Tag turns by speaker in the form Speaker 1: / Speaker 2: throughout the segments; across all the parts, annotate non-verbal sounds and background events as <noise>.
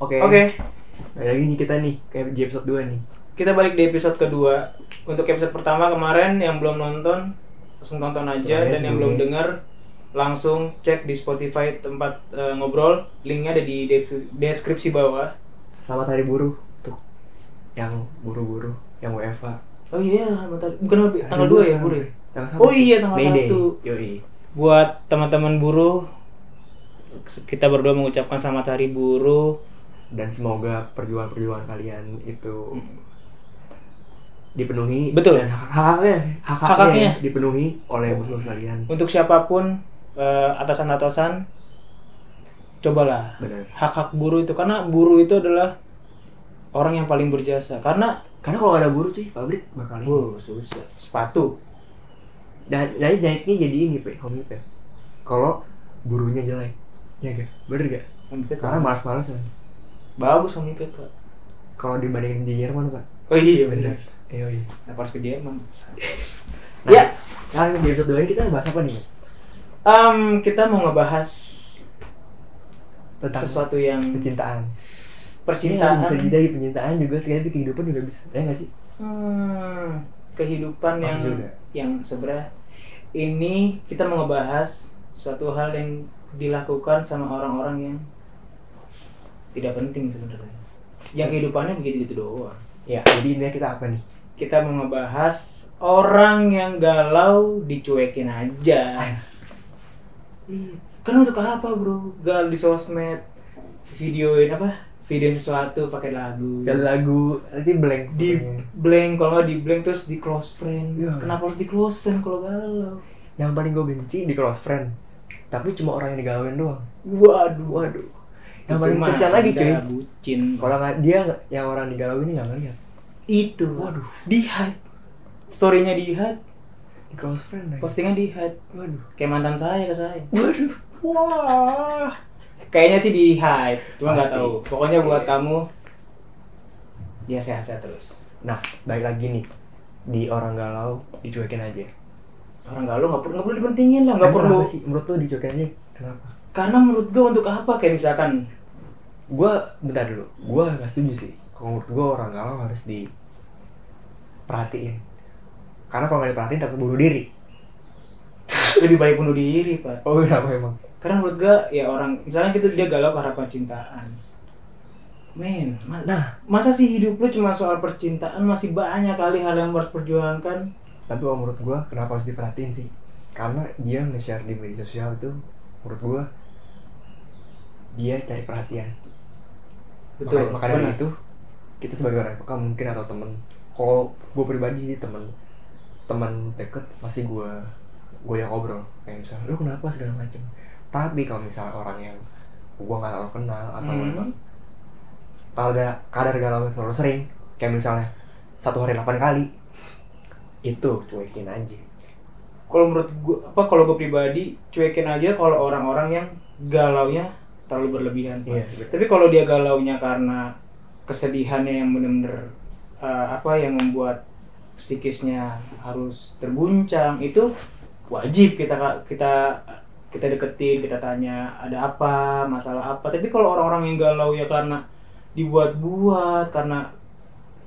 Speaker 1: Oke.
Speaker 2: Oke,
Speaker 1: Balik lagi nih kita nih kayak di episode 2 nih.
Speaker 2: kita balik di episode kedua. Untuk episode pertama kemarin yang belum nonton langsung tonton aja
Speaker 1: Tonton aja
Speaker 2: dan yang belum
Speaker 1: sebelumnya.
Speaker 2: dengar langsung cek di Spotify tempat eh, ngobrol. Linknya ada di de- deskripsi bawah.
Speaker 1: Selamat hari buruh tuh. Yang buru-buru, yang WFH.
Speaker 2: Oh iya, bentar. bukan
Speaker 1: Hari
Speaker 2: tanggal
Speaker 1: buruh
Speaker 2: 2 ya,
Speaker 1: sekarang.
Speaker 2: Buru ya?
Speaker 1: Tanggal satu.
Speaker 2: Oh iya, tanggal
Speaker 1: Mayday.
Speaker 2: 1.
Speaker 1: Yoi.
Speaker 2: buat teman-teman buruh kita berdua mengucapkan selamat hari buruh
Speaker 1: Dan semoga perjuangan-perjuangan kalian itu dipenuhi
Speaker 2: Hmm. Betul.
Speaker 1: dan hak-haknya
Speaker 2: Hak-haknya. Hmm.
Speaker 1: hak-haknya dipenuhi oleh buruh kalian
Speaker 2: untuk siapapun eh, atasan-atasan cobalah
Speaker 1: benar
Speaker 2: hak-hak buruh itu karena buruh itu adalah orang yang paling berjasa karena
Speaker 1: karena kalau nggak ada buruh sih pabrik bakal ini
Speaker 2: buruh susah sepatu
Speaker 1: dan dari naiknya jadi ini pe komit ya kalau buruhnya jelek ya gak bener gak
Speaker 2: Omipet
Speaker 1: karena malas-malasan
Speaker 2: bagus omipet pak
Speaker 1: kalau dibandingin di Jerman pak
Speaker 2: oh iya benar
Speaker 1: iya iya
Speaker 2: Kenapa harus ke Jerman
Speaker 1: Nah,
Speaker 2: ya
Speaker 1: Kali di episode 2 ini kita bahas apa nih? Mas?
Speaker 2: em, kita mau ngebahas
Speaker 1: Tentang
Speaker 2: sesuatu yang
Speaker 1: pencintaan. Ini
Speaker 2: percintaan
Speaker 1: bisa jadi dari pencintaan juga ternyata di kehidupan juga bisa. Ya nggak sih?
Speaker 2: Hmm, kehidupan yang
Speaker 1: Masuk juga.
Speaker 2: yang sebenarnya ini kita mau ngebahas suatu hal yang dilakukan sama orang-orang yang tidak penting sebenarnya. Yang kehidupannya begitu-gitu doang.
Speaker 1: Ya, jadi intinya kita apa nih?
Speaker 2: Kita mau ngebahas orang yang galau dicuekin aja. Iya. Karena untuk apa, Bro? Galau di sosmed, videoin apa? Videoin sesuatu pakai lagu
Speaker 1: Kalau lagu nanti blank
Speaker 2: di
Speaker 1: pokoknya.
Speaker 2: blank kalau nggak di blank terus di close friend
Speaker 1: Iya.
Speaker 2: kenapa harus di close friend kalau galau
Speaker 1: yang paling gue benci di close friend. Tapi cuma orang yang digalauin doang.
Speaker 2: waduh
Speaker 1: Waduh. Yang paling kesian lagi cuy.
Speaker 2: ada bucin
Speaker 1: Kalau nggak dia nggak- yang orang digalauin ini nggak ngeliat.
Speaker 2: itu
Speaker 1: Waduh.
Speaker 2: di hide storynya di hide
Speaker 1: Di close friend lagi.
Speaker 2: postingan di hide
Speaker 1: Waduh.
Speaker 2: kayak mantan saya ke saya
Speaker 1: Waduh.
Speaker 2: wah kayaknya sih di hide cuma
Speaker 1: Pasti.
Speaker 2: nggak tahu pokoknya buat kamu ya sehat-sehat terus
Speaker 1: Nah, balik lagi nih di orang galau dicuekin aja.
Speaker 2: orang galau nggak perlu nggak perlu dipentingin lah nggak
Speaker 1: Emang
Speaker 2: perlu
Speaker 1: kenapa sih menurut lo dicuekin aja kenapa?
Speaker 2: karena menurut gue untuk apa kayak misalkan
Speaker 1: gue bentar dulu gue gak setuju sih kalau menurut gue orang galau harus diperhatiin karena kalau nggak diperhatiin takut bunuh diri
Speaker 2: lebih baik bunuh diri pak
Speaker 1: oh kenapa emang
Speaker 2: karena menurut gue ya orang misalnya kita dia galau karena percintaan men ma-
Speaker 1: nah
Speaker 2: masa sih hidup lu cuma soal percintaan masih banyak kali hal yang harus perjuangkan
Speaker 1: tapi kalau menurut gue kenapa harus diperhatiin sih karena dia nge-share di media sosial itu menurut gue dia cari perhatian makanya,
Speaker 2: betul
Speaker 1: gitu. makanya dari
Speaker 2: benar.
Speaker 1: itu kita sebagai orang peka mungkin atau temen kalau gue pribadi sih temen teman deket pasti gue gue yang ngobrol kayak misalnya lu kenapa segala macem tapi kalau misalnya orang yang gue nggak terlalu kenal atau
Speaker 2: Hmm.
Speaker 1: memang kalau ada kadar galau yang terlalu sering kayak misalnya satu hari 8 kali itu cuekin aja
Speaker 2: kalau menurut gue apa kalau gue pribadi cuekin aja kalau orang-orang yang galaunya terlalu berlebihan Pak.
Speaker 1: Iya,
Speaker 2: tapi kalau dia galaunya karena kesedihannya yang bener-bener eh, apa yang membuat psikisnya harus terguncang itu wajib kita kita kita deketin kita tanya ada apa masalah apa tapi kalau orang-orang yang galau ya karena dibuat-buat karena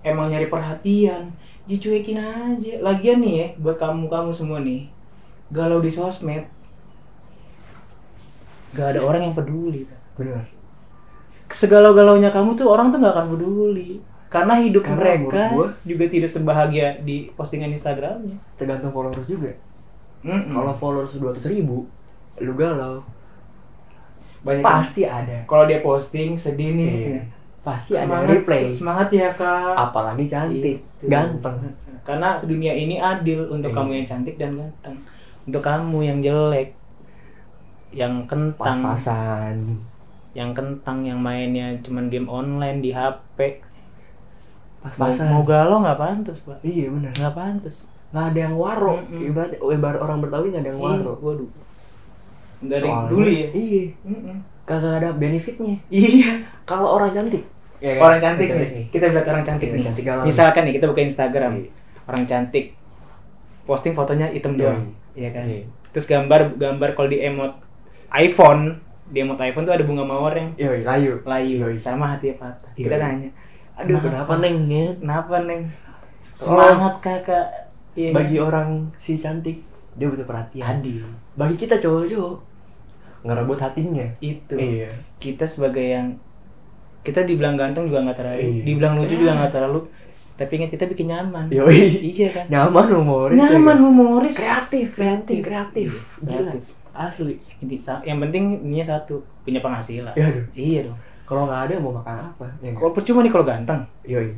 Speaker 2: emang nyari perhatian dicuekin aja lagian nih ya buat kamu kamu semua nih galau di sosmed gak ada orang yang peduli Pak
Speaker 1: bener
Speaker 2: segalau-galaunya kamu tuh orang tuh nggak akan peduli karena hidup
Speaker 1: Karena
Speaker 2: mereka
Speaker 1: menurut
Speaker 2: juga tidak sebahagia di postingan Instagramnya.
Speaker 1: tergantung followers juga
Speaker 2: Mm-mm.
Speaker 1: kalau followers 200 ribu lu galau
Speaker 2: banyak yang-
Speaker 1: pasti ada
Speaker 2: kalau dia posting sedih nih,
Speaker 1: Iya. pasti ada
Speaker 2: semangat
Speaker 1: replay
Speaker 2: se- semangat ya kak.
Speaker 1: apalagi cantik
Speaker 2: Gitu.
Speaker 1: ganteng
Speaker 2: Karena dunia ini adil untuk
Speaker 1: Iya.
Speaker 2: kamu yang cantik dan ganteng, untuk kamu yang jelek, yang kentang,
Speaker 1: pas-pasan
Speaker 2: yang kentang yang mainnya cuman game online di HP. Mau,
Speaker 1: pas-pasan
Speaker 2: mau galau nggak pantas pak,
Speaker 1: iya benar
Speaker 2: nggak pantas.
Speaker 1: nggak ada yang waro
Speaker 2: Mm-mm.
Speaker 1: ibarat oh, ibarat orang Betawi nggak ada yang waro
Speaker 2: Iya, waduh. Nggak ada yang
Speaker 1: Soalnya-
Speaker 2: peduli ya.
Speaker 1: iya
Speaker 2: Mm-mm.
Speaker 1: kagak ada benefitnya
Speaker 2: Iya.
Speaker 1: kalau orang cantik ya kan?
Speaker 2: Orang cantik nih. Kita lihat orang cantik
Speaker 1: Iya,
Speaker 2: nih.
Speaker 1: cantik galau.
Speaker 2: Misalkan nih kita buka Instagram.
Speaker 1: Iya.
Speaker 2: Orang cantik. Posting fotonya
Speaker 1: Iya.
Speaker 2: hitam doang. Iya kan?
Speaker 1: Iya.
Speaker 2: Terus gambar gambar kalau di emot iPhone demo Taiwan tuh ada bunga mawar yang
Speaker 1: Yoi, layu.
Speaker 2: layu
Speaker 1: Yoi.
Speaker 2: sama hati patah
Speaker 1: Yoi.
Speaker 2: kita nanya
Speaker 1: Aduh, kenapa, Neng? Ya?
Speaker 2: kenapa neng
Speaker 1: Soal-
Speaker 2: semangat kakak Iya.
Speaker 1: Bagi orang si cantik, dia butuh perhatian.
Speaker 2: adil
Speaker 1: Bagi kita cowok-cowok, ngerebut hatinya.
Speaker 2: itu
Speaker 1: Iya.
Speaker 2: kita sebagai yang kita dibilang ganteng juga nggak terlalu
Speaker 1: Iya.
Speaker 2: dibilang lucu juga nggak terlalu tapi ingat kita bikin nyaman
Speaker 1: Yoi. ya,
Speaker 2: iya kan
Speaker 1: Nyaman humornya.
Speaker 2: nyaman humoris
Speaker 1: Kreatif, kreatif, kreatif.
Speaker 2: Iya,
Speaker 1: Gila.
Speaker 2: kreatif.
Speaker 1: Asli.
Speaker 2: Inti- sa- yang penting ininya satu punya penghasilan
Speaker 1: Ya aduh.
Speaker 2: iya dong
Speaker 1: Kalau nggak ada mau makan apa? Ya, nggak?
Speaker 2: kalau percuma nih kalau ganteng
Speaker 1: Yoi.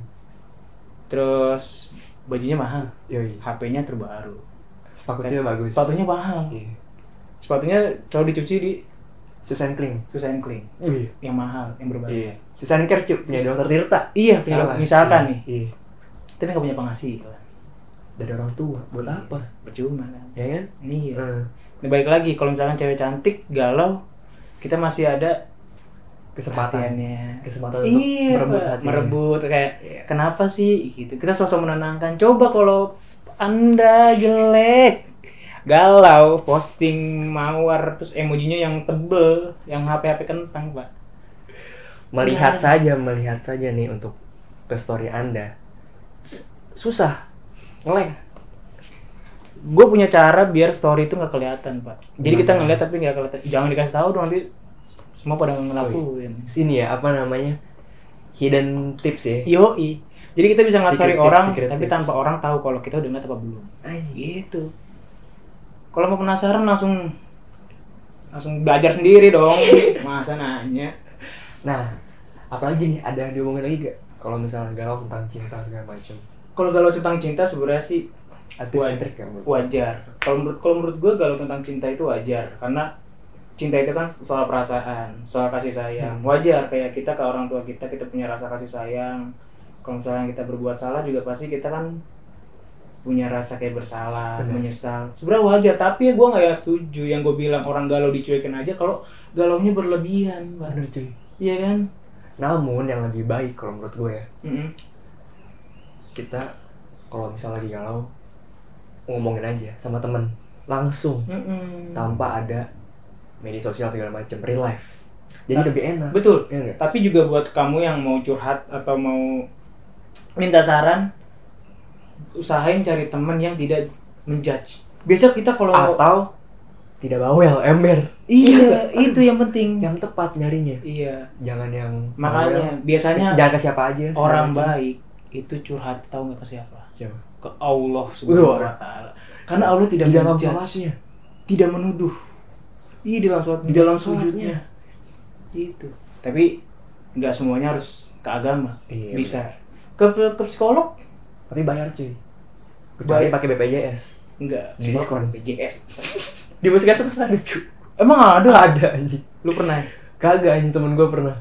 Speaker 2: terus bajunya mahal
Speaker 1: Yoi.
Speaker 2: HP-nya terbaru
Speaker 1: Pakutnya bagus.
Speaker 2: sepatunya mahal
Speaker 1: Iya.
Speaker 2: sepatunya kalau dicuci di
Speaker 1: Susan Kling.
Speaker 2: susah and clean
Speaker 1: Iya.
Speaker 2: yang mahal yang berbayar
Speaker 1: Iya. Susan Kercup. Ya, dokter Tirta.
Speaker 2: iya
Speaker 1: Salah. Iya.
Speaker 2: misalkan nih
Speaker 1: Iya.
Speaker 2: tapi nggak punya penghasilan
Speaker 1: Dari orang tua. Buat apa?
Speaker 2: percuma kan
Speaker 1: Ya kan?
Speaker 2: iya
Speaker 1: Eh,
Speaker 2: Nah, balik lagi kalau misalkan cewek cantik galau kita masih ada Iya,
Speaker 1: Kesempatan.
Speaker 2: perhatiannya.
Speaker 1: Kesempatan untuk merebut
Speaker 2: iya,
Speaker 1: Iya.
Speaker 2: merebut,
Speaker 1: hatinya.
Speaker 2: merebut kayak kenapa sih gitu kita sosok menenangkan coba kalau anda jelek galau posting mawar terus emojinya yang tebel yang HP HP kentang pak
Speaker 1: Melihat
Speaker 2: Iya.
Speaker 1: saja, melihat saja nih untuk ke story Anda. S- Susah. Ngeleng.
Speaker 2: gue punya cara biar story itu nggak kelihatan pak jadi kita
Speaker 1: Gimana?
Speaker 2: ngeliat tapi nggak kelihatan jangan dikasih tahu dong nanti semua pada
Speaker 1: Oh, iya.
Speaker 2: ngelakuin
Speaker 1: Sini ya, apa namanya? Hidden tips ya.
Speaker 2: yoi jadi kita bisa ngasih story
Speaker 1: Secret tips,
Speaker 2: orang
Speaker 1: secret
Speaker 2: tapi
Speaker 1: tips.
Speaker 2: tanpa orang tahu kalau kita udah ngeliat apa belum
Speaker 1: Anjing.
Speaker 2: gitu kalau mau penasaran langsung langsung belajar sendiri
Speaker 1: <laughs>
Speaker 2: dong masa nanya
Speaker 1: Nah, apalagi nih ada yang diomongin lagi gak? Kalau misalnya galau tentang cinta segala macam.
Speaker 2: kalau galau tentang cinta sebenarnya sih
Speaker 1: Atau
Speaker 2: Wah.
Speaker 1: centric ya menurut.
Speaker 2: wajar kalau menurut kalau menurut gue galau tentang cinta itu wajar karena cinta itu kan soal perasaan soal kasih sayang
Speaker 1: Hmm.
Speaker 2: wajar kayak kita ke orang tua kita kita punya rasa kasih sayang kalau misalnya kita berbuat salah juga pasti kita kan punya rasa kayak bersalah
Speaker 1: Benar.
Speaker 2: menyesal sebenarnya wajar tapi gue nggak ya setuju yang gue bilang orang galau dicuekin aja kalau galaunya berlebihan Pak.
Speaker 1: Bener cuy.
Speaker 2: iya kan
Speaker 1: Namun yang lebih baik kalau menurut gue ya,
Speaker 2: Mm-mm.
Speaker 1: kita kalau misalnya lagi galau ngomongin aja sama temen langsung
Speaker 2: Mm-mm.
Speaker 1: tanpa ada media sosial segala macam real life. Jadi lebih enak.
Speaker 2: Nah. betul
Speaker 1: Iya nggak?
Speaker 2: Tapi juga buat kamu yang mau curhat atau mau minta saran, usahain cari teman yang tidak menjudge. Besok kita kalau
Speaker 1: Atau tidak bawel, ember. <laughs>
Speaker 2: iya itu yang penting.
Speaker 1: Yang tepat nyarinya.
Speaker 2: Iya
Speaker 1: Jangan yang bawel.
Speaker 2: makanya biasanya
Speaker 1: Iya. jangan ke siapa aja segala
Speaker 2: orang
Speaker 1: macam.
Speaker 2: baik itu curhat tahu nggak ke siapa?
Speaker 1: Siapa?
Speaker 2: Ke Allah subhanahu wa taala. Karena Allah tidak
Speaker 1: Di dalam
Speaker 2: menjudge,
Speaker 1: sholatnya,
Speaker 2: tidak menuduh. Iya di dalam sholat,
Speaker 1: di dalam sujudnya.
Speaker 2: Itu. Tapi nggak semuanya harus ke agama.
Speaker 1: Iya,
Speaker 2: Bisa ke, ke psikolog
Speaker 1: tapi bayar cuy kecuali
Speaker 2: Bayar.
Speaker 1: pakai BPJS
Speaker 2: Enggak,
Speaker 1: Di diskon.
Speaker 2: BPJS.
Speaker 1: di puskesmas ada <laughs> cuy
Speaker 2: Emang ada?
Speaker 1: ada anjing
Speaker 2: Lu pernah?
Speaker 1: kagak anjing temen gue pernah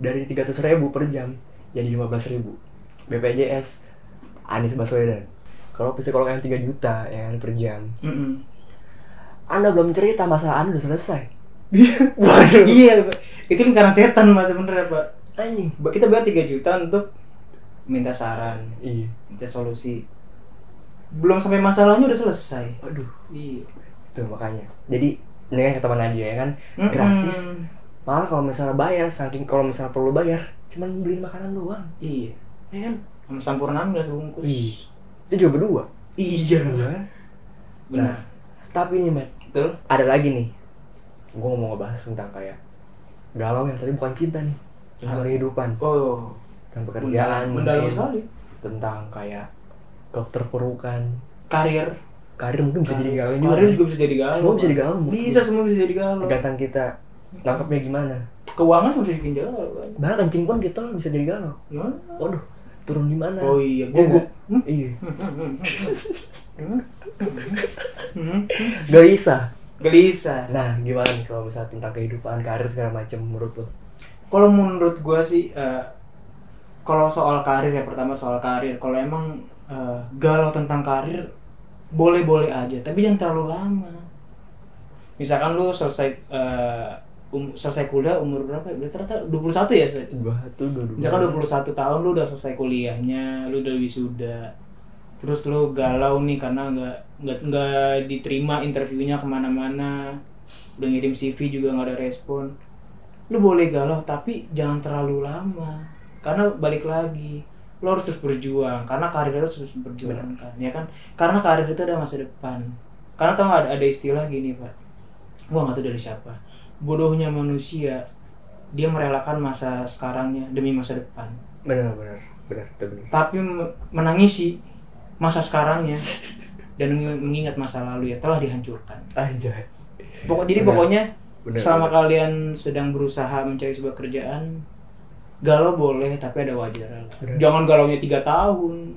Speaker 1: dari 300 ribu per jam jadi 15 ribu BPJS Anies Baswedan kalau psikolog yang 3 juta ya kan, per jam
Speaker 2: Mm-mm.
Speaker 1: anda belum cerita masalah anda udah selesai <laughs> waduh
Speaker 2: iya, Pak. itu lingkaran setan mas sebenernya pak.
Speaker 1: anjing
Speaker 2: Ba- Kita bayar 3 juta untuk minta saran,
Speaker 1: iya
Speaker 2: minta solusi. Belum sampai masalahnya udah selesai.
Speaker 1: aduh
Speaker 2: Iya.
Speaker 1: tuh makanya jadi ini kan ke teman aja ya kan
Speaker 2: Mm-mm.
Speaker 1: gratis malah kalau misalnya bayar saking kalau misalnya perlu bayar cuman beliin makanan doang
Speaker 2: Iya.
Speaker 1: ya kan
Speaker 2: Sama sampurna nggak sebungkus.
Speaker 1: Wih. itu juga berdua
Speaker 2: Iya.
Speaker 1: Iya kan?
Speaker 2: Benar.
Speaker 1: Nah. tapi nih men
Speaker 2: Betul.
Speaker 1: ada lagi nih gue mau ngebahas tentang kayak galau yang tadi bukan cinta nih tentang
Speaker 2: Ah.
Speaker 1: kehidupan
Speaker 2: Oh.
Speaker 1: tentang pekerjaan
Speaker 2: mendalam- mendalam
Speaker 1: mungkin.
Speaker 2: sekali.
Speaker 1: tentang kayak dokter perukan
Speaker 2: Karir. Nah,
Speaker 1: karir mungkin bisa jadi galau juga
Speaker 2: Karir juga bisa jadi galau.
Speaker 1: semua bisa
Speaker 2: Pak.
Speaker 1: jadi galau menurut
Speaker 2: Bisa
Speaker 1: gua.
Speaker 2: semua bisa jadi galau.
Speaker 1: tergantung kita tangkapnya gimana
Speaker 2: Keuangan bisa jadi galau. Pak.
Speaker 1: bahkan kencing pun kita bisa jadi galau
Speaker 2: Gimana?
Speaker 1: waduh turun di mana
Speaker 2: Oh iya,
Speaker 1: Iya
Speaker 2: gugup.
Speaker 1: nggak? iya
Speaker 2: Hmm. Hmm.
Speaker 1: gelisah
Speaker 2: Gelisah.
Speaker 1: nah gimana nih kalau misalnya tentang kehidupan karir segala macam menurut lo
Speaker 2: Kalau menurut gua sih, eh, kalau soal karir ya pertama soal karir. Kalau emang eh, galau tentang karir, boleh-boleh aja. Tapi jangan terlalu lama. Misalkan lu selesai eh, um- selesai kuliah umur berapa? ya? Ternyata 21 ya. Seth?
Speaker 1: dua tuh dua dua
Speaker 2: Misalkan 21 tahun lu udah selesai kuliahnya, lu udah wisuda. Terus lu galau nih karena nggak nggak nggak diterima interviewnya kemana-mana. udah ngirim CV juga nggak ada respon lu boleh galau tapi jangan terlalu lama karena balik lagi lo harus terus berjuang karena karir lo harus terus berjuang kan ya kan karena karir itu ada masa depan karena tau nggak ada, ada istilah gini pak gua nggak tahu dari siapa bodohnya manusia dia merelakan masa sekarangnya demi masa depan
Speaker 1: benar benar benar itu benar
Speaker 2: tapi me- menangisi masa
Speaker 1: <laughs>
Speaker 2: sekarangnya dan meng- mengingat masa lalu ya telah dihancurkan
Speaker 1: aja
Speaker 2: Pokok, jadi
Speaker 1: Iya, Benar.
Speaker 2: pokoknya
Speaker 1: benar
Speaker 2: selama
Speaker 1: benar.
Speaker 2: kalian sedang berusaha mencari sebuah kerjaan galau boleh tapi ada wajar lah.
Speaker 1: Benar.
Speaker 2: jangan galaunya tiga tahun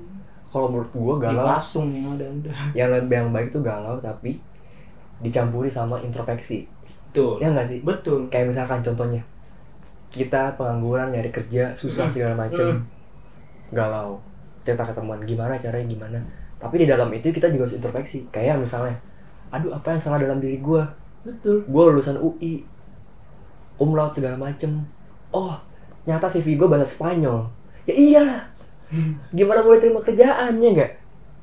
Speaker 1: kalau menurut gua galau
Speaker 2: langsung yang ada anda
Speaker 1: yang lebih yang baik tuh galau tapi dicampuri sama introspeksi
Speaker 2: betul
Speaker 1: ya nggak sih
Speaker 2: betul
Speaker 1: kayak misalkan contohnya kita pengangguran nyari kerja susah segala macem galau cerita ke teman gimana caranya gimana tapi di dalam itu kita juga harus introspeksi kayak misalnya aduh apa yang salah dalam diri gua
Speaker 2: betul
Speaker 1: gua lulusan UI umlaut segala macem oh nyata CV gua bahasa Spanyol ya iyalah gimana boleh terima kerjaannya nggak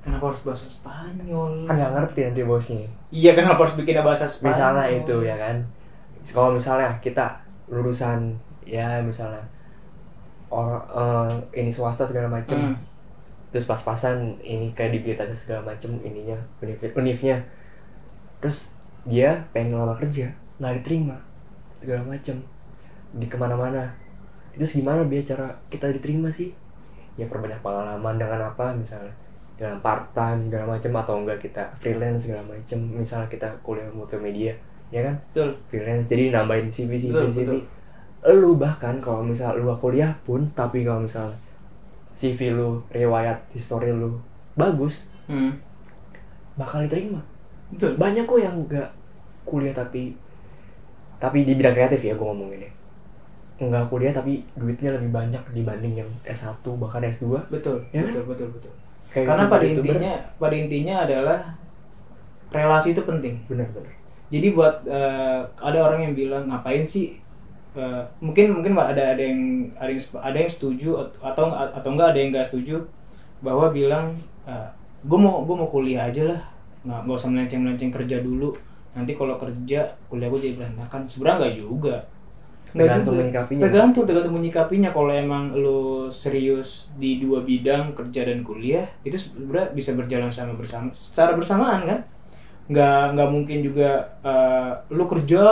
Speaker 2: kenapa harus bahasa Spanyol
Speaker 1: kan nggak ngerti nanti bosnya
Speaker 2: iya kenapa harus bikin bahasa Spanyol
Speaker 1: misalnya itu ya kan kalau misalnya kita lulusan ya misalnya or, eh, ini swasta segala macem
Speaker 2: Hmm.
Speaker 1: terus pas-pasan ini kredibilitasnya segala macem ininya univ- univnya terus dia pengen ngelamar kerja nggak diterima segala macem di kemana-mana terus gimana biar cara kita diterima sih ya perbanyak pengalaman dengan apa misalnya dengan part time segala macem atau enggak kita freelance segala macem misalnya kita kuliah multimedia ya kan
Speaker 2: betul
Speaker 1: freelance jadi nambahin CV CV
Speaker 2: Betul,
Speaker 1: CV lu bahkan kalau misal lu nggak kuliah pun tapi kalau misal CV lu riwayat histori lu bagus
Speaker 2: Hmm.
Speaker 1: bakal diterima
Speaker 2: betul
Speaker 1: banyak kok yang nggak kuliah tapi tapi di bidang kreatif ya gue ngomongin ya nggak kuliah tapi duitnya lebih banyak dibanding yang S1 bahkan S2
Speaker 2: betul
Speaker 1: Ya kan?
Speaker 2: betul betul betul
Speaker 1: kayak gitu,
Speaker 2: karena pada
Speaker 1: youtuber-youtuber.
Speaker 2: intinya pada intinya adalah relasi itu penting
Speaker 1: bener bener
Speaker 2: jadi buat eh, ada orang yang bilang ngapain sih Eh, mungkin mungkin ada ada yang ada yang ada yang setuju at- atau atau enggak ada yang enggak setuju bahwa bilang gue mau gue mau kuliah aja lah nggak nggak usah melenceng melenceng kerja dulu nanti kalau kerja kuliah gue jadi berantakan sebenarnya enggak juga Nggak
Speaker 1: Tergantung
Speaker 2: juga.
Speaker 1: menyikapinya.
Speaker 2: tergantung tergantung menyikapinya kalau emang lo serius di dua bidang kerja dan kuliah itu sebenarnya bisa berjalan sama bersama secara bersamaan kan nggak nggak mungkin juga eh, lu kerja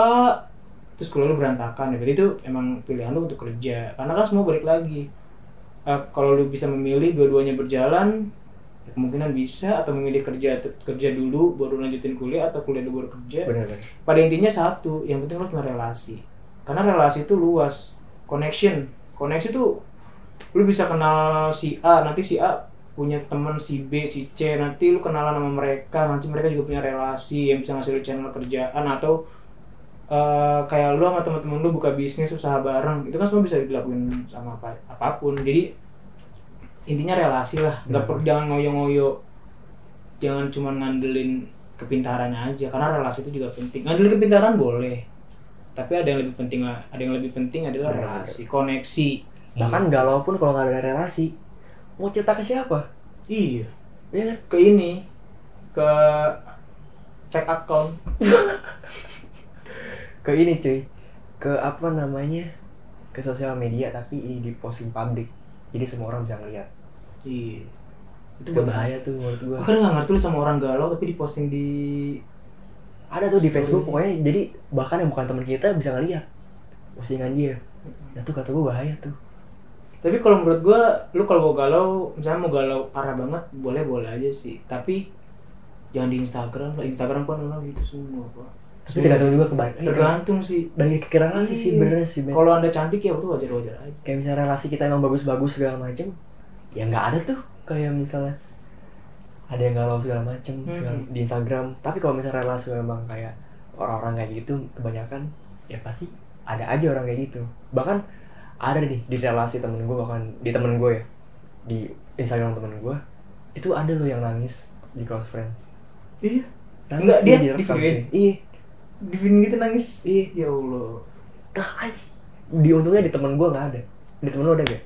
Speaker 2: terus kuliah lu berantakan ya berarti itu emang pilihan lu untuk kerja karena kan semua balik lagi Eh, kalau lu bisa memilih dua-duanya berjalan ya kemungkinan bisa atau memilih kerja kerja dulu baru lanjutin kuliah atau kuliah dulu baru kerja
Speaker 1: bener bener
Speaker 2: pada intinya satu yang penting lu punya relasi karena relasi itu luas connection connection tuh lu bisa kenal si A nanti si A punya teman si B si C nanti lu kenalan sama mereka nanti mereka juga punya relasi yang bisa ngasih lu channel kerjaan atau eh, kayak lu sama teman-teman lu buka bisnis usaha bareng itu kan semua bisa dilakuin sama apa- apapun jadi intinya relasi lah nggak
Speaker 1: Hmm.
Speaker 2: per- jangan ngoyo-ngoyo jangan cuma ngandelin kepintarannya aja karena relasi itu juga penting ngandelin kepintaran boleh tapi ada yang lebih penting lah ada yang lebih penting adalah
Speaker 1: Benar.
Speaker 2: relasi koneksi
Speaker 1: bahkan
Speaker 2: Iya.
Speaker 1: galau pun kalau nggak ada relasi mau cerita ke siapa
Speaker 2: iya
Speaker 1: ya kan
Speaker 2: ke ini ke fake account
Speaker 1: ke ini cuy ke apa namanya ke sosial media tapi ini di posting publik jadi semua orang bisa ngeliat
Speaker 2: iya itu
Speaker 1: itu
Speaker 2: buat
Speaker 1: bahaya tuh menurut gua
Speaker 2: Gua kan nggak ngerti lu sama orang galau tapi diposting di
Speaker 1: ada tuh di
Speaker 2: Story.
Speaker 1: Facebook pokoknya jadi bahkan yang bukan teman kita bisa ngeliat postingan dia nah tuh kata gua bahaya tuh
Speaker 2: tapi kalau menurut gua lu kalau mau galau misalnya mau galau parah banget boleh boleh aja sih tapi jangan di Instagram lah Instagram kan orang gitu semua pak
Speaker 1: tapi tergantung juga ke ba-
Speaker 2: tergantung sih
Speaker 1: dari kekirangan relasi sih
Speaker 2: Iya.
Speaker 1: bener sih Ben.
Speaker 2: kalau anda cantik ya itu wajar wajar aja
Speaker 1: kayak misalnya relasi kita emang bagus-bagus segala macem ya nggak ada tuh kayak misalnya ada yang galau segala macem segala-
Speaker 2: Mhm.
Speaker 1: di Instagram tapi kalau misalnya relasi emang kayak orang-orang kayak gitu kebanyakan ya pasti ada aja orang kayak gitu bahkan ada nih di relasi temen gue bahkan di temen gue ya di Instagram temen gue itu ada loh yang nangis di close friends
Speaker 2: iya
Speaker 1: nangis
Speaker 2: Nggak, dia
Speaker 1: direkam,
Speaker 2: di-videoin.
Speaker 1: cuy. iya
Speaker 2: di film gitu nangis ih ya allah
Speaker 1: Nah, anjing. Di untungnya di teman gua nggak ada. Di temen lu ada gak?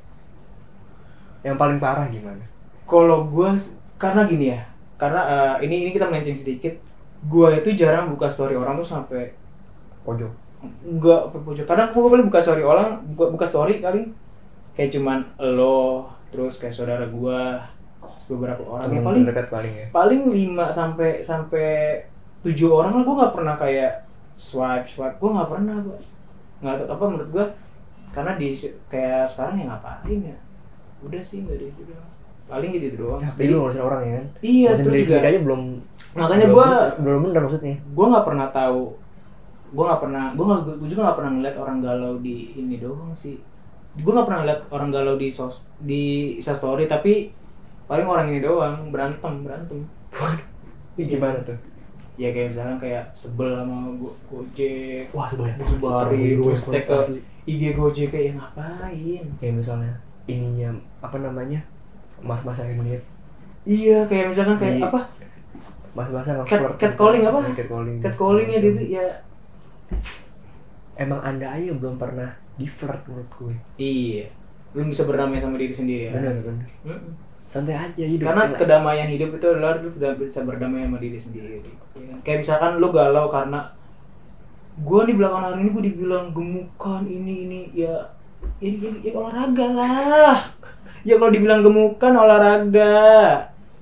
Speaker 1: Yang paling parah gimana?
Speaker 2: kalau gue karena gini ya karena eh, ini ini kita melenceng sedikit gue itu jarang buka story orang tuh sampai
Speaker 1: pojok
Speaker 2: nggak perpojok kadang gue paling buka story orang buka, buka story paling kayak cuman lo terus kayak saudara gua terus beberapa orang ya
Speaker 1: Temen
Speaker 2: paling
Speaker 1: dekat paling ya
Speaker 2: paling 5 sampai sampai 7 orang lah gua nggak pernah kayak swipe swipe gua nggak pernah gua nggak tahu apa menurut gua karena di kayak sekarang ya ngapain ya udah sih nggak ada itu doang paling gitu doang
Speaker 1: tapi
Speaker 2: Jadi-
Speaker 1: lu ngurusin orang ya kan
Speaker 2: iya
Speaker 1: Ngurusin
Speaker 2: terus
Speaker 1: diri
Speaker 2: juga
Speaker 1: sendiri aja belum
Speaker 2: makanya
Speaker 1: belum
Speaker 2: gua
Speaker 1: bener- belum bener maksudnya
Speaker 2: gue nggak pernah tahu gue nggak pernah gue nggak gue juga nggak pernah ngeliat orang galau di ini doang sih gue nggak pernah ngeliat orang galau di sos di instastory tapi paling orang ini doang berantem berantem
Speaker 1: Ih, gimana tuh
Speaker 2: ya kayak misalnya kayak sebel sama go gojek
Speaker 1: wah sebanyak
Speaker 2: Disebarin, terus tag ke-
Speaker 1: asli.
Speaker 2: ig gojek kayak ya ngapain
Speaker 1: kayak misalnya ininya apa namanya mas-mas yang menit
Speaker 2: iya kayak misalkan kayak
Speaker 1: Di-
Speaker 2: apa
Speaker 1: mas-mas yang
Speaker 2: Cat-
Speaker 1: flirt.
Speaker 2: catcalling apa?
Speaker 1: Iya, catcalling
Speaker 2: catcallingnya
Speaker 1: Macam.
Speaker 2: gitu ya
Speaker 1: emang anda aja yang belum pernah di flirt menurut gue
Speaker 2: iya belum bisa berdamai sama diri sendiri ya
Speaker 1: bener bener
Speaker 2: Mm-mm.
Speaker 1: santai aja hidup
Speaker 2: Karena
Speaker 1: relax.
Speaker 2: kedamaian hidup itu adalah lu udah bisa berdamai sama diri sendiri. ya kan? Kayak misalkan lu galau karena gua nih belakangan hari ini gua dibilang gemukan ini ini ya ya, ya, ya olahraga lah. Ya kalau dibilang gemukan olahraga.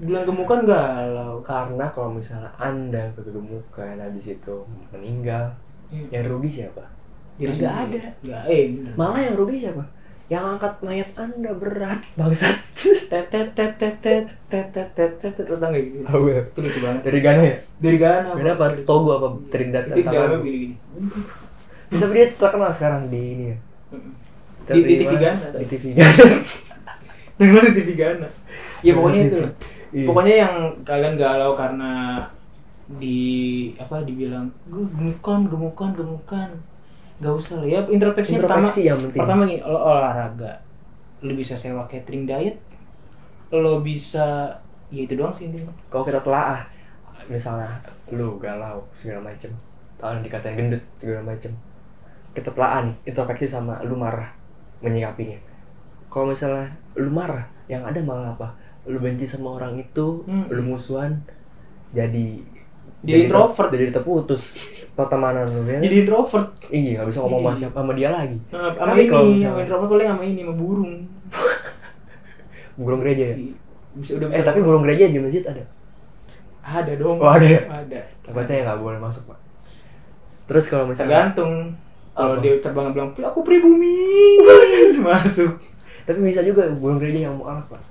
Speaker 2: Bilang gemukan galau.
Speaker 1: karena kalau misalnya anda kegemukan habis itu meninggal
Speaker 2: Iya.
Speaker 1: yang rugi siapa Nggak
Speaker 2: Diri sendiri.
Speaker 1: ada.
Speaker 2: Nggak, eh bener.
Speaker 1: malah yang rugi siapa yang angkat mayat anda berat bangsat <laughs>
Speaker 2: Tet tet tet tet tet tet tet tet tet tet tau nggak gitu.
Speaker 1: tahu ya
Speaker 2: Itu lucu banget.
Speaker 1: dari Ghana ya
Speaker 2: Dari Ghana. Iya.
Speaker 1: Ghana apa Togo apa Trinidad
Speaker 2: Itu
Speaker 1: Tobago?
Speaker 2: Ghana gini-gini.
Speaker 1: tapi dia terkenal sekarang di ini ya
Speaker 2: Di- di TV
Speaker 1: mana?
Speaker 2: Ghana.
Speaker 1: di <laughs> TV Ghana
Speaker 2: Dengar di TV Ghana. Ya pokoknya itu. lah.
Speaker 1: Iya.
Speaker 2: Pokoknya yang kalian galau karena di apa dibilang "Gue gemukan gemukan gemukan gak usah lah ya introspeksi pertama
Speaker 1: Introspeksi yang penting.
Speaker 2: pertama gini, lo olahraga lo bisa sewa catering diet lo bisa ya itu doang sih intinya
Speaker 1: kalau kita telaah misalnya lu galau segala macem tahun dikatain gendut segala macem kita telaah nih introspeksi sama lu marah menyikapinya kalau misalnya lu marah yang ada malah apa lu benci sama orang itu
Speaker 2: Hmm.
Speaker 1: lu musuhan jadi
Speaker 2: Jadi introvert.
Speaker 1: ter- jadi terputus pertemanan lu ya
Speaker 2: jadi introvert
Speaker 1: iya nggak bisa ngomong sama
Speaker 2: Iya.
Speaker 1: siapa- sama dia lagi
Speaker 2: Nah, sama
Speaker 1: Tapi
Speaker 2: ini
Speaker 1: kalau
Speaker 2: sama
Speaker 1: misalnya-
Speaker 2: introvert paling sama ini sama burung
Speaker 1: burung gereja ya
Speaker 2: bisa udah Iya, bisa
Speaker 1: eh tapi burung gereja di masjid ada
Speaker 2: ada dong
Speaker 1: Oh, ada ya?
Speaker 2: ada
Speaker 1: tempatnya nggak boleh masuk pak terus kalau misalnya
Speaker 2: tergantung kalau
Speaker 1: Apa?
Speaker 2: dia terbang bilang aku pribumi
Speaker 1: <laughs>
Speaker 2: masuk
Speaker 1: Tapi bisa juga burung gereja yang mualaf, Pak.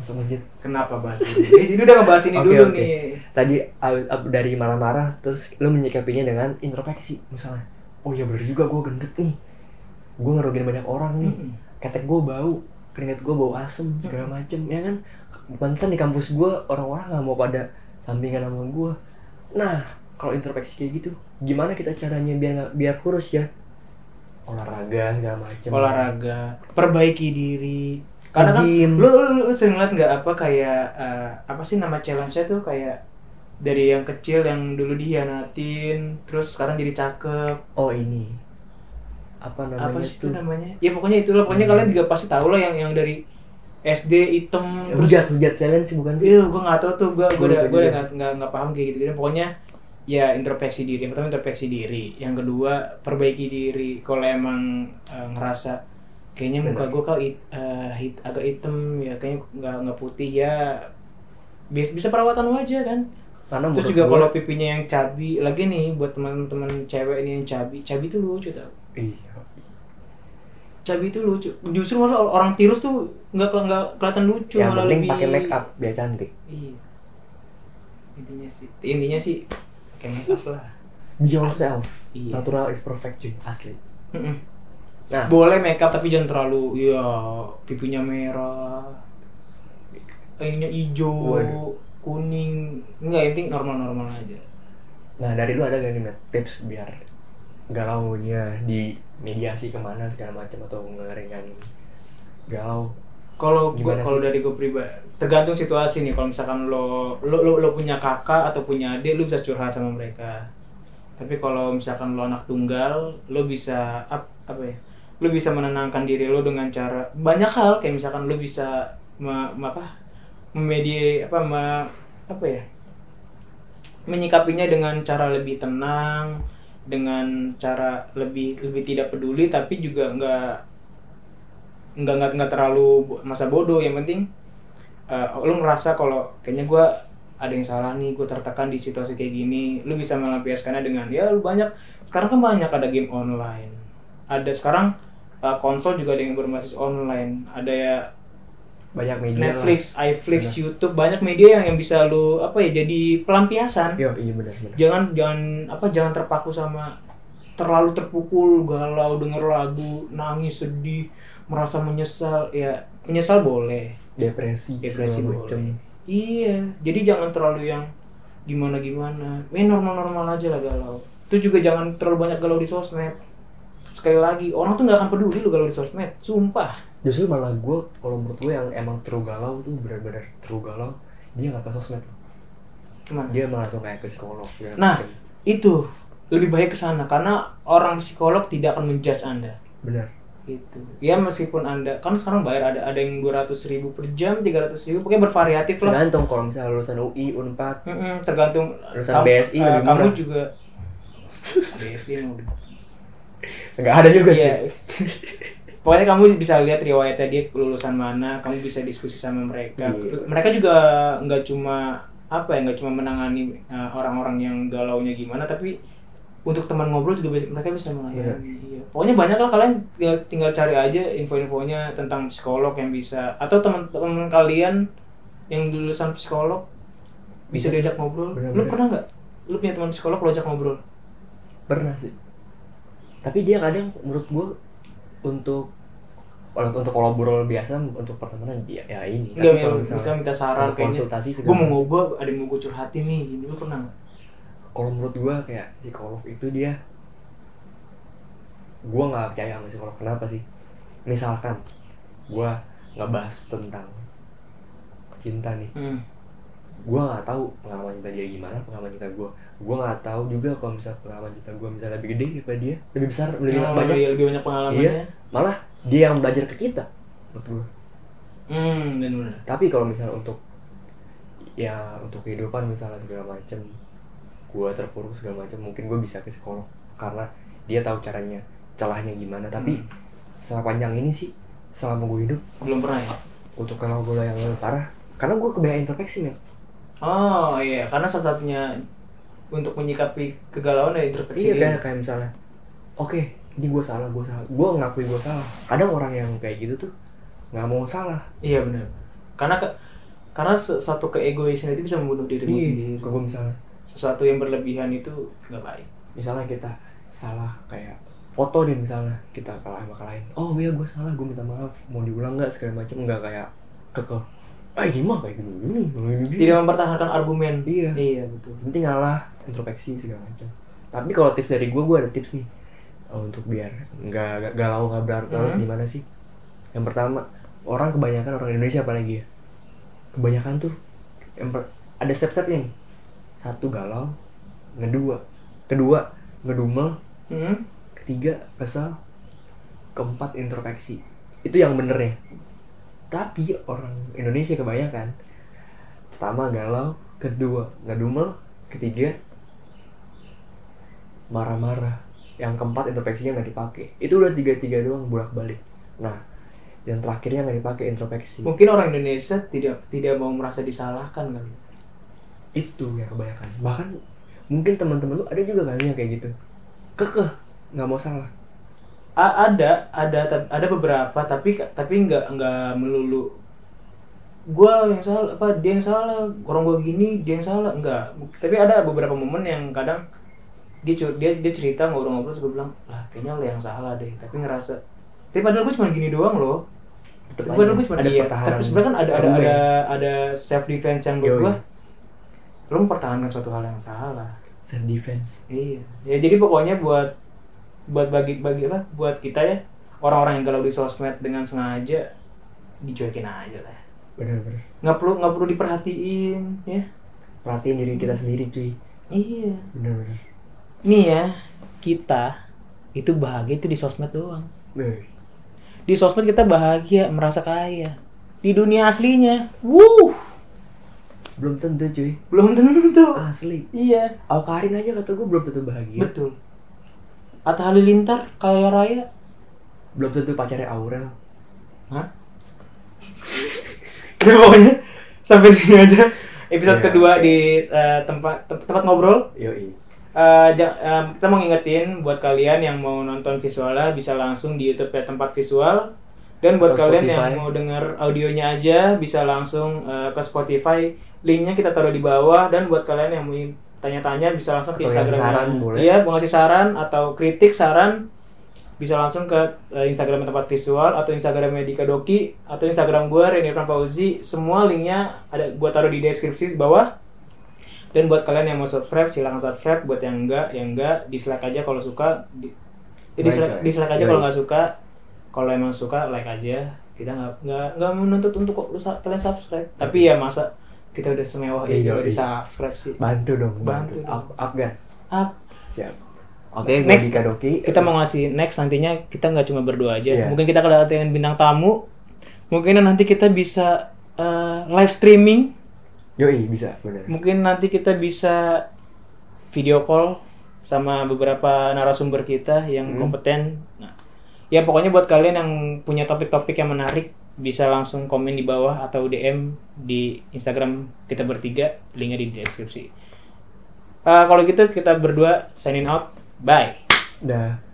Speaker 1: Masuk masjid.
Speaker 2: kenapa bahas ini <laughs> Eh, jadi udah ngebahas ini
Speaker 1: Oke,
Speaker 2: dulu
Speaker 1: oke.
Speaker 2: nih
Speaker 1: Tadi ab- ab- dari marah-marah terus lu menyikapinya dengan introspeksi misalnya. Oh iya bener juga gue gendut nih. Gue ngerugiin banyak orang nih.
Speaker 2: Mm-mm.
Speaker 1: Ketek gue bau, keringat gue bau asem segala macem ya kan. Mantan di kampus gue orang-orang nggak mau pada sampingan sama gue. Nah kalau introspeksi kayak gitu, gimana kita caranya biar nggak- biar kurus ya? Olahraga segala macem.
Speaker 2: olahraga perbaiki diri karena kan
Speaker 1: Nge-gym.
Speaker 2: lu, lu, lu sering ngeliat nggak apa kayak eh, apa sih nama challenge-nya tuh kayak dari yang kecil yang dulu dihianatin terus sekarang jadi cakep
Speaker 1: Oh ini apa namanya
Speaker 2: apa sih
Speaker 1: tuh?
Speaker 2: itu namanya ya pokoknya itulah pokoknya kalian juga pasti tahu lah yang yang dari SD item terus
Speaker 1: hujat hujat challenge sih bukan sih
Speaker 2: Iya, gue nggak tahu tuh, gue gue
Speaker 1: Gua
Speaker 2: udah
Speaker 1: lupa
Speaker 2: gue
Speaker 1: juga
Speaker 2: udah nggak nggak nggak paham kayak gitu gitu. Pokoknya ya introspeksi diri. Yang pertama introspeksi diri. Yang kedua perbaiki diri. Kalau emang eh, ngerasa kayaknya muka
Speaker 1: Benar.
Speaker 2: gue kok hit- eh, hit- agak hitam ya, kayaknya nggak nggak putih ya. Bisa, bisa perawatan wajah kan.
Speaker 1: karena
Speaker 2: Terus
Speaker 1: menurut
Speaker 2: juga
Speaker 1: gua- iya,
Speaker 2: kalau pipinya yang cabi, lagi nih buat teman-teman cewek ini yang cabi, cabi tuh lucu tau.
Speaker 1: iya
Speaker 2: Cabi tuh lucu. Justru malah orang tirus tuh nggak nggak kelihatan lucu
Speaker 1: yang
Speaker 2: malah
Speaker 1: penting
Speaker 2: lebih.
Speaker 1: pakai make up biar cantik
Speaker 2: Iya. Intinya sih, intinya sih pakai <laughs> makeup lah.
Speaker 1: be yourself
Speaker 2: Iya.
Speaker 1: natural is perfect cuy asli
Speaker 2: Mm-mm.
Speaker 1: nah
Speaker 2: Boleh makeup tapi jangan terlalu ya pipinya merah. Ininya hijau,
Speaker 1: Waduh.
Speaker 2: kuning. Enggak, intinya normal-normal aja.
Speaker 1: nah dari lu ada gak nih Matt, tips biar galaunya di mediasi kemana segala macam atau ngeringanin galau
Speaker 2: Kalau gua
Speaker 1: Gimana
Speaker 2: kalau
Speaker 1: sih?
Speaker 2: dari gue pribadi tergantung situasi nih. Kalau misalkan lo lo, lo lo punya kakak atau punya adik, lo bisa curhat sama mereka. Tapi kalau misalkan lo anak tunggal, lo bisa ap- apa ya? Lo bisa menenangkan diri lo dengan cara banyak hal. Kayak misalkan lo bisa me, me- apa? Memedi apa me- apa ya? Menyikapinya dengan cara lebih tenang, dengan cara lebih lebih tidak peduli tapi juga nggak nggak nggak nggak terlalu bo- masa bodoh yang penting eh, lo ngerasa kalau kayaknya gue ada yang salah nih gue tertekan di situasi kayak gini lu bisa melampiaskannya dengan ya lu banyak sekarang kan banyak ada game online ada sekarang eh, konsol juga ada yang berbasis online ada ya
Speaker 1: banyak media lah. Iya.
Speaker 2: Netflix, iFlix, YouTube banyak media yang, yang bisa lu apa ya jadi pelampiasan
Speaker 1: Yo, iya benar-benar.
Speaker 2: jangan jangan apa jangan terpaku sama terlalu terpukul galau denger lagu nangis sedih merasa menyesal ya menyesal boleh
Speaker 1: Depresi,
Speaker 2: depresi
Speaker 1: segala
Speaker 2: boleh
Speaker 1: macam.
Speaker 2: iya jadi jangan terlalu yang gimana gimana main normal normal aja lah galau itu juga jangan terlalu banyak galau di sosmed sekali lagi orang tuh nggak akan peduli lu galau di sosmed sumpah
Speaker 1: Justru malah gue, kalau menurut gue yang emang true galau tuh benar-benar true galau, dia nggak ke sosmed.
Speaker 2: Cuman,
Speaker 1: Dia malah langsung kayak ke psikolog. segala
Speaker 2: Nah.
Speaker 1: macam.
Speaker 2: itu lebih baik ke sana karena orang psikolog tidak akan menjudge anda
Speaker 1: benar.
Speaker 2: gitu ya meskipun anda kan sekarang bayar ada ada yang 200.000 ribu per jam 300.000 ribu pokoknya bervariatif lah
Speaker 1: Tergantung kalau misalnya lulusan UI, Unpad,
Speaker 2: Mm-mm, tergantung
Speaker 1: Lulusan
Speaker 2: kamu-
Speaker 1: BSI
Speaker 2: eh,
Speaker 1: lebih
Speaker 2: kamu
Speaker 1: murah. <laughs>
Speaker 2: juga BSI emang udah
Speaker 1: nggak ada juga.
Speaker 2: Iya.
Speaker 1: cuy.
Speaker 2: <laughs> pokoknya kamu bisa lihat riwayatnya dia lulusan mana kamu bisa diskusi sama mereka
Speaker 1: Iya.
Speaker 2: mereka juga nggak cuma apa ya nggak cuma menangani eh, orang-orang yang galaunya gimana tapi untuk teman ngobrol juga bisa- mereka bisa melayani Iya. pokoknya banyak lah kalian tinggal, tinggal cari aja info-infonya tentang psikolog yang bisa atau teman-teman kalian yang lulusan psikolog bisa
Speaker 1: Bisa.
Speaker 2: diajak ngobrol lu
Speaker 1: Benar-benar.
Speaker 2: pernah nggak lu punya teman psikolog lo ajak ngobrol
Speaker 1: Pernah sih. Tapi dia kadang menurut gue untuk untuk untuk kolaborol biasa untuk pertemanan ya, ya ini.
Speaker 2: nggak
Speaker 1: Tapi kalau
Speaker 2: ya, bisa minta saran
Speaker 1: untuk
Speaker 2: kayaknya
Speaker 1: konsultasi
Speaker 2: gue
Speaker 1: segala
Speaker 2: mau
Speaker 1: macam.
Speaker 2: gue ada yang mau gue curhatin nih gini lu pernah nggak
Speaker 1: kalau menurut gua kayak psikolog itu dia gua nggak percaya sama psikolog kenapa sih misalkan gua ngebahas tentang cinta nih
Speaker 2: hmm.
Speaker 1: gua nggak tahu pengalaman cinta dia gimana pengalaman cinta gua gua nggak tahu juga kalau misalnya pengalaman cinta gua misalnya lebih gede daripada dia lebih besar lebih
Speaker 2: Yang
Speaker 1: banyak
Speaker 2: lebih, lebih banyak pengalamannya
Speaker 1: Iya. malah dia yang belajar ke kita menurut gua
Speaker 2: hmm dan benar
Speaker 1: tapi kalau misalnya untuk ya untuk kehidupan misalnya segala macem gue terpuruk segala macem mungkin gue bisa ke psikolog karena dia tahu caranya celahnya gimana tapi
Speaker 2: Hmm.
Speaker 1: sepanjang ini sih selama gue hidup
Speaker 2: belum pernah ya
Speaker 1: untuk kalau gue yang lebih parah karena gue kebanyakan introspeksi ya
Speaker 2: oh iya karena salah satunya untuk menyikapi kegalauan dan introspeksi
Speaker 1: iya
Speaker 2: diri.
Speaker 1: kayak kayak misalnya oke ini gue salah gue salah gue ngakui gue salah kadang orang yang kayak gitu tuh nggak mau salah
Speaker 2: iya benar karena ke, karena se- satu keegoisan itu bisa membunuh dirimu sendiri
Speaker 1: gue Iya, misalnya
Speaker 2: sesuatu yang berlebihan itu nggak baik
Speaker 1: misalnya kita salah kayak foto deh misalnya kita kalah sama klien oh iya gue salah gue minta maaf mau diulang nggak segala macam nggak kayak kekeh ah ini mah kayak gini gini gini, gini."
Speaker 2: tidak mempertahankan argumen
Speaker 1: iya
Speaker 2: iya betul
Speaker 1: penting ngalah introspeksi segala macam tapi kalau tips dari gue gue ada tips nih eh, untuk biar nggak nggak galau nggak berlarut
Speaker 2: Mhm.
Speaker 1: gimana sih yang pertama orang kebanyakan orang Indonesia apalagi ya kebanyakan tuh yang per- ada step-stepnya nih satu galau kedua kedua ngedumel
Speaker 2: hmm?
Speaker 1: ketiga kesel keempat introspeksi itu yang benernya tapi orang Indonesia kebanyakan pertama galau kedua ngedumel ketiga marah-marah yang keempat introspeksinya nggak dipakai itu udah tiga tiga doang bolak balik nah yang terakhirnya nggak dipakai introspeksi
Speaker 2: mungkin orang Indonesia tidak tidak mau merasa disalahkan kali ya.
Speaker 1: itu yang kebanyakan bahkan mungkin teman-teman lu ada juga kali yang kayak gitu kekeh nggak mau salah
Speaker 2: A- ada ada ta- ada beberapa tapi tapi nggak nggak melulu gua yang salah apa dia yang salah orang gua gini dia yang salah enggak tapi ada beberapa momen yang kadang dia cur- dia dia cerita ngobrol-ngobrol terus gua bilang lah kayaknya lo yang salah deh tapi ngerasa tapi padahal gua cuma gini doang loh
Speaker 1: Tetep
Speaker 2: tapi padahal
Speaker 1: aja
Speaker 2: gua cuma
Speaker 1: ada
Speaker 2: dia
Speaker 1: pertahanan
Speaker 2: Iya. tapi sebenarnya kan ada ada
Speaker 1: argumen.
Speaker 2: ada ada self defense yang buat
Speaker 1: Yoi.
Speaker 2: gua lo mempertahankan suatu hal yang salah
Speaker 1: self defense
Speaker 2: Iya. Ya jadi pokoknya buat buat bagi bagi apa? Buat kita ya orang-orang yang galau di sosmed dengan sengaja dicuekin aja lah.
Speaker 1: benar-benar
Speaker 2: Nggak perlu nggak perlu diperhatiin ya.
Speaker 1: perhatiin diri kita sendiri cuy
Speaker 2: Iya.
Speaker 1: benar-benar
Speaker 2: Nih ya kita itu bahagia itu di sosmed doang.
Speaker 1: Weh,
Speaker 2: Di sosmed kita bahagia merasa kaya. Di dunia aslinya, wuh
Speaker 1: belum tentu cuy
Speaker 2: belum tentu.
Speaker 1: asli
Speaker 2: Iya,
Speaker 1: Awkarin aja kata gue belum tentu bahagia
Speaker 2: betul. Atta Halilintar kaya raya
Speaker 1: belum tentu pacarnya Aurel
Speaker 2: Hah? Udah pokoknya sampai sini aja episode
Speaker 1: Iya.
Speaker 2: kedua di eh, tempat tem- tempat ngobrol.
Speaker 1: yoi
Speaker 2: Eh, ja- eh, kita mau ngingetin buat kalian yang mau nonton visualnya bisa langsung di YouTube ya tempat visual dan buat
Speaker 1: Atau
Speaker 2: kalian
Speaker 1: Spotify.
Speaker 2: yang mau denger audionya aja bisa langsung eh, ke Spotify. Linknya kita taruh di bawah dan buat kalian yang mau tanya-tanya bisa langsung ke
Speaker 1: Atau yang
Speaker 2: Instagram.
Speaker 1: saran boleh.
Speaker 2: Iya, mau ngasih saran atau kritik saran bisa langsung ke eh, Instagram tempat visual atau Instagram Medika Doki atau Instagram gue Reni Irfan Fauzi semua linknya ada gue taruh di deskripsi bawah dan buat kalian yang mau subscribe silahkan subscribe buat yang enggak yang enggak dislike aja kalau suka di, eh, dislike,
Speaker 1: Like aja. Iya.
Speaker 2: dislike aja
Speaker 1: Like.
Speaker 2: kalau nggak suka kalau emang suka like aja kita nggak nggak nggak menuntut untuk kok lu sa- kalian subscribe tapi ya masa kita udah semewah ini
Speaker 1: Iya,
Speaker 2: udah di
Speaker 1: iya.
Speaker 2: subscribe sih
Speaker 1: bantu dong bantu,
Speaker 2: Bantu dong.
Speaker 1: up up gan
Speaker 2: Up.
Speaker 1: siap oke gue
Speaker 2: Next.
Speaker 1: Dika Doki
Speaker 2: kita mau ngasih next nantinya kita nggak cuma berdua aja
Speaker 1: Iya.
Speaker 2: mungkin kita kedatangan bintang tamu mungkin nanti kita bisa eh, live streaming
Speaker 1: yoi bisa bener
Speaker 2: mungkin nanti kita bisa video call sama beberapa narasumber kita yang
Speaker 1: Hmm.
Speaker 2: kompeten Nah, ya pokoknya buat kalian yang punya topik-topik yang menarik bisa langsung komen di bawah atau DM di Instagram kita bertiga linknya di deskripsi Eh, kalau gitu kita berdua signing out bye
Speaker 1: dah